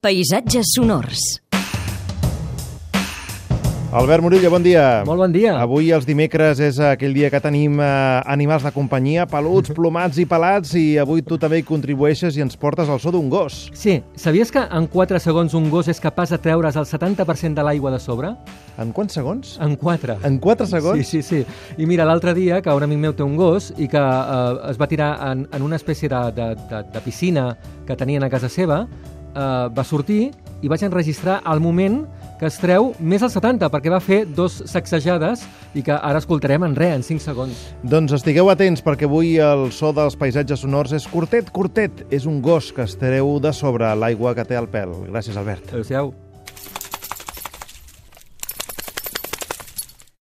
Paisatges sonors. Albert Murillo, bon dia. Molt bon dia. Avui, els dimecres, és aquell dia que tenim eh, animals de companyia, peluts, Mm-hmm. plomats i pelats, i avui tu també hi contribueixes i ens portes al so d'un gos. Sí, sabies que en 4 segons un gos és capaç de treure's el 70% de l'aigua de sobre? En quants segons? En 4. En 4 segons? Ah. Sí, sí, sí. I mira, l'altre dia que un amic meu té un gos i que eh, es va tirar en, en una espècie de, de, de, de piscina que tenien a casa seva, eh, va sortir i vaig enregistrar el moment que es treu més al 70, perquè va fer dos sacsejades i que ara escoltarem en re, en 5 segons. Doncs estigueu atents, perquè avui el so dels paisatges sonors és curtet, curtet. És un gos que es treu de sobre l'aigua que té al pèl. Gràcies, Albert. Adéu-siau.